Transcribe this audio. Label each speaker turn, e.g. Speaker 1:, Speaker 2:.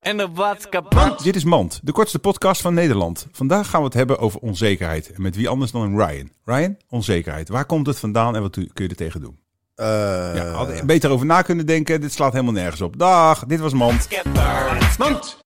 Speaker 1: En de wat kapot.
Speaker 2: Dit is Mand, de kortste podcast van Nederland. Vandaag gaan we het hebben over onzekerheid. En met wie anders dan een Ryan. Ryan, onzekerheid. Waar komt het vandaan en wat kun je er tegen doen? Ja, had er beter over na kunnen denken. Dit slaat helemaal nergens op. Dag, dit was Mand.
Speaker 1: Mand.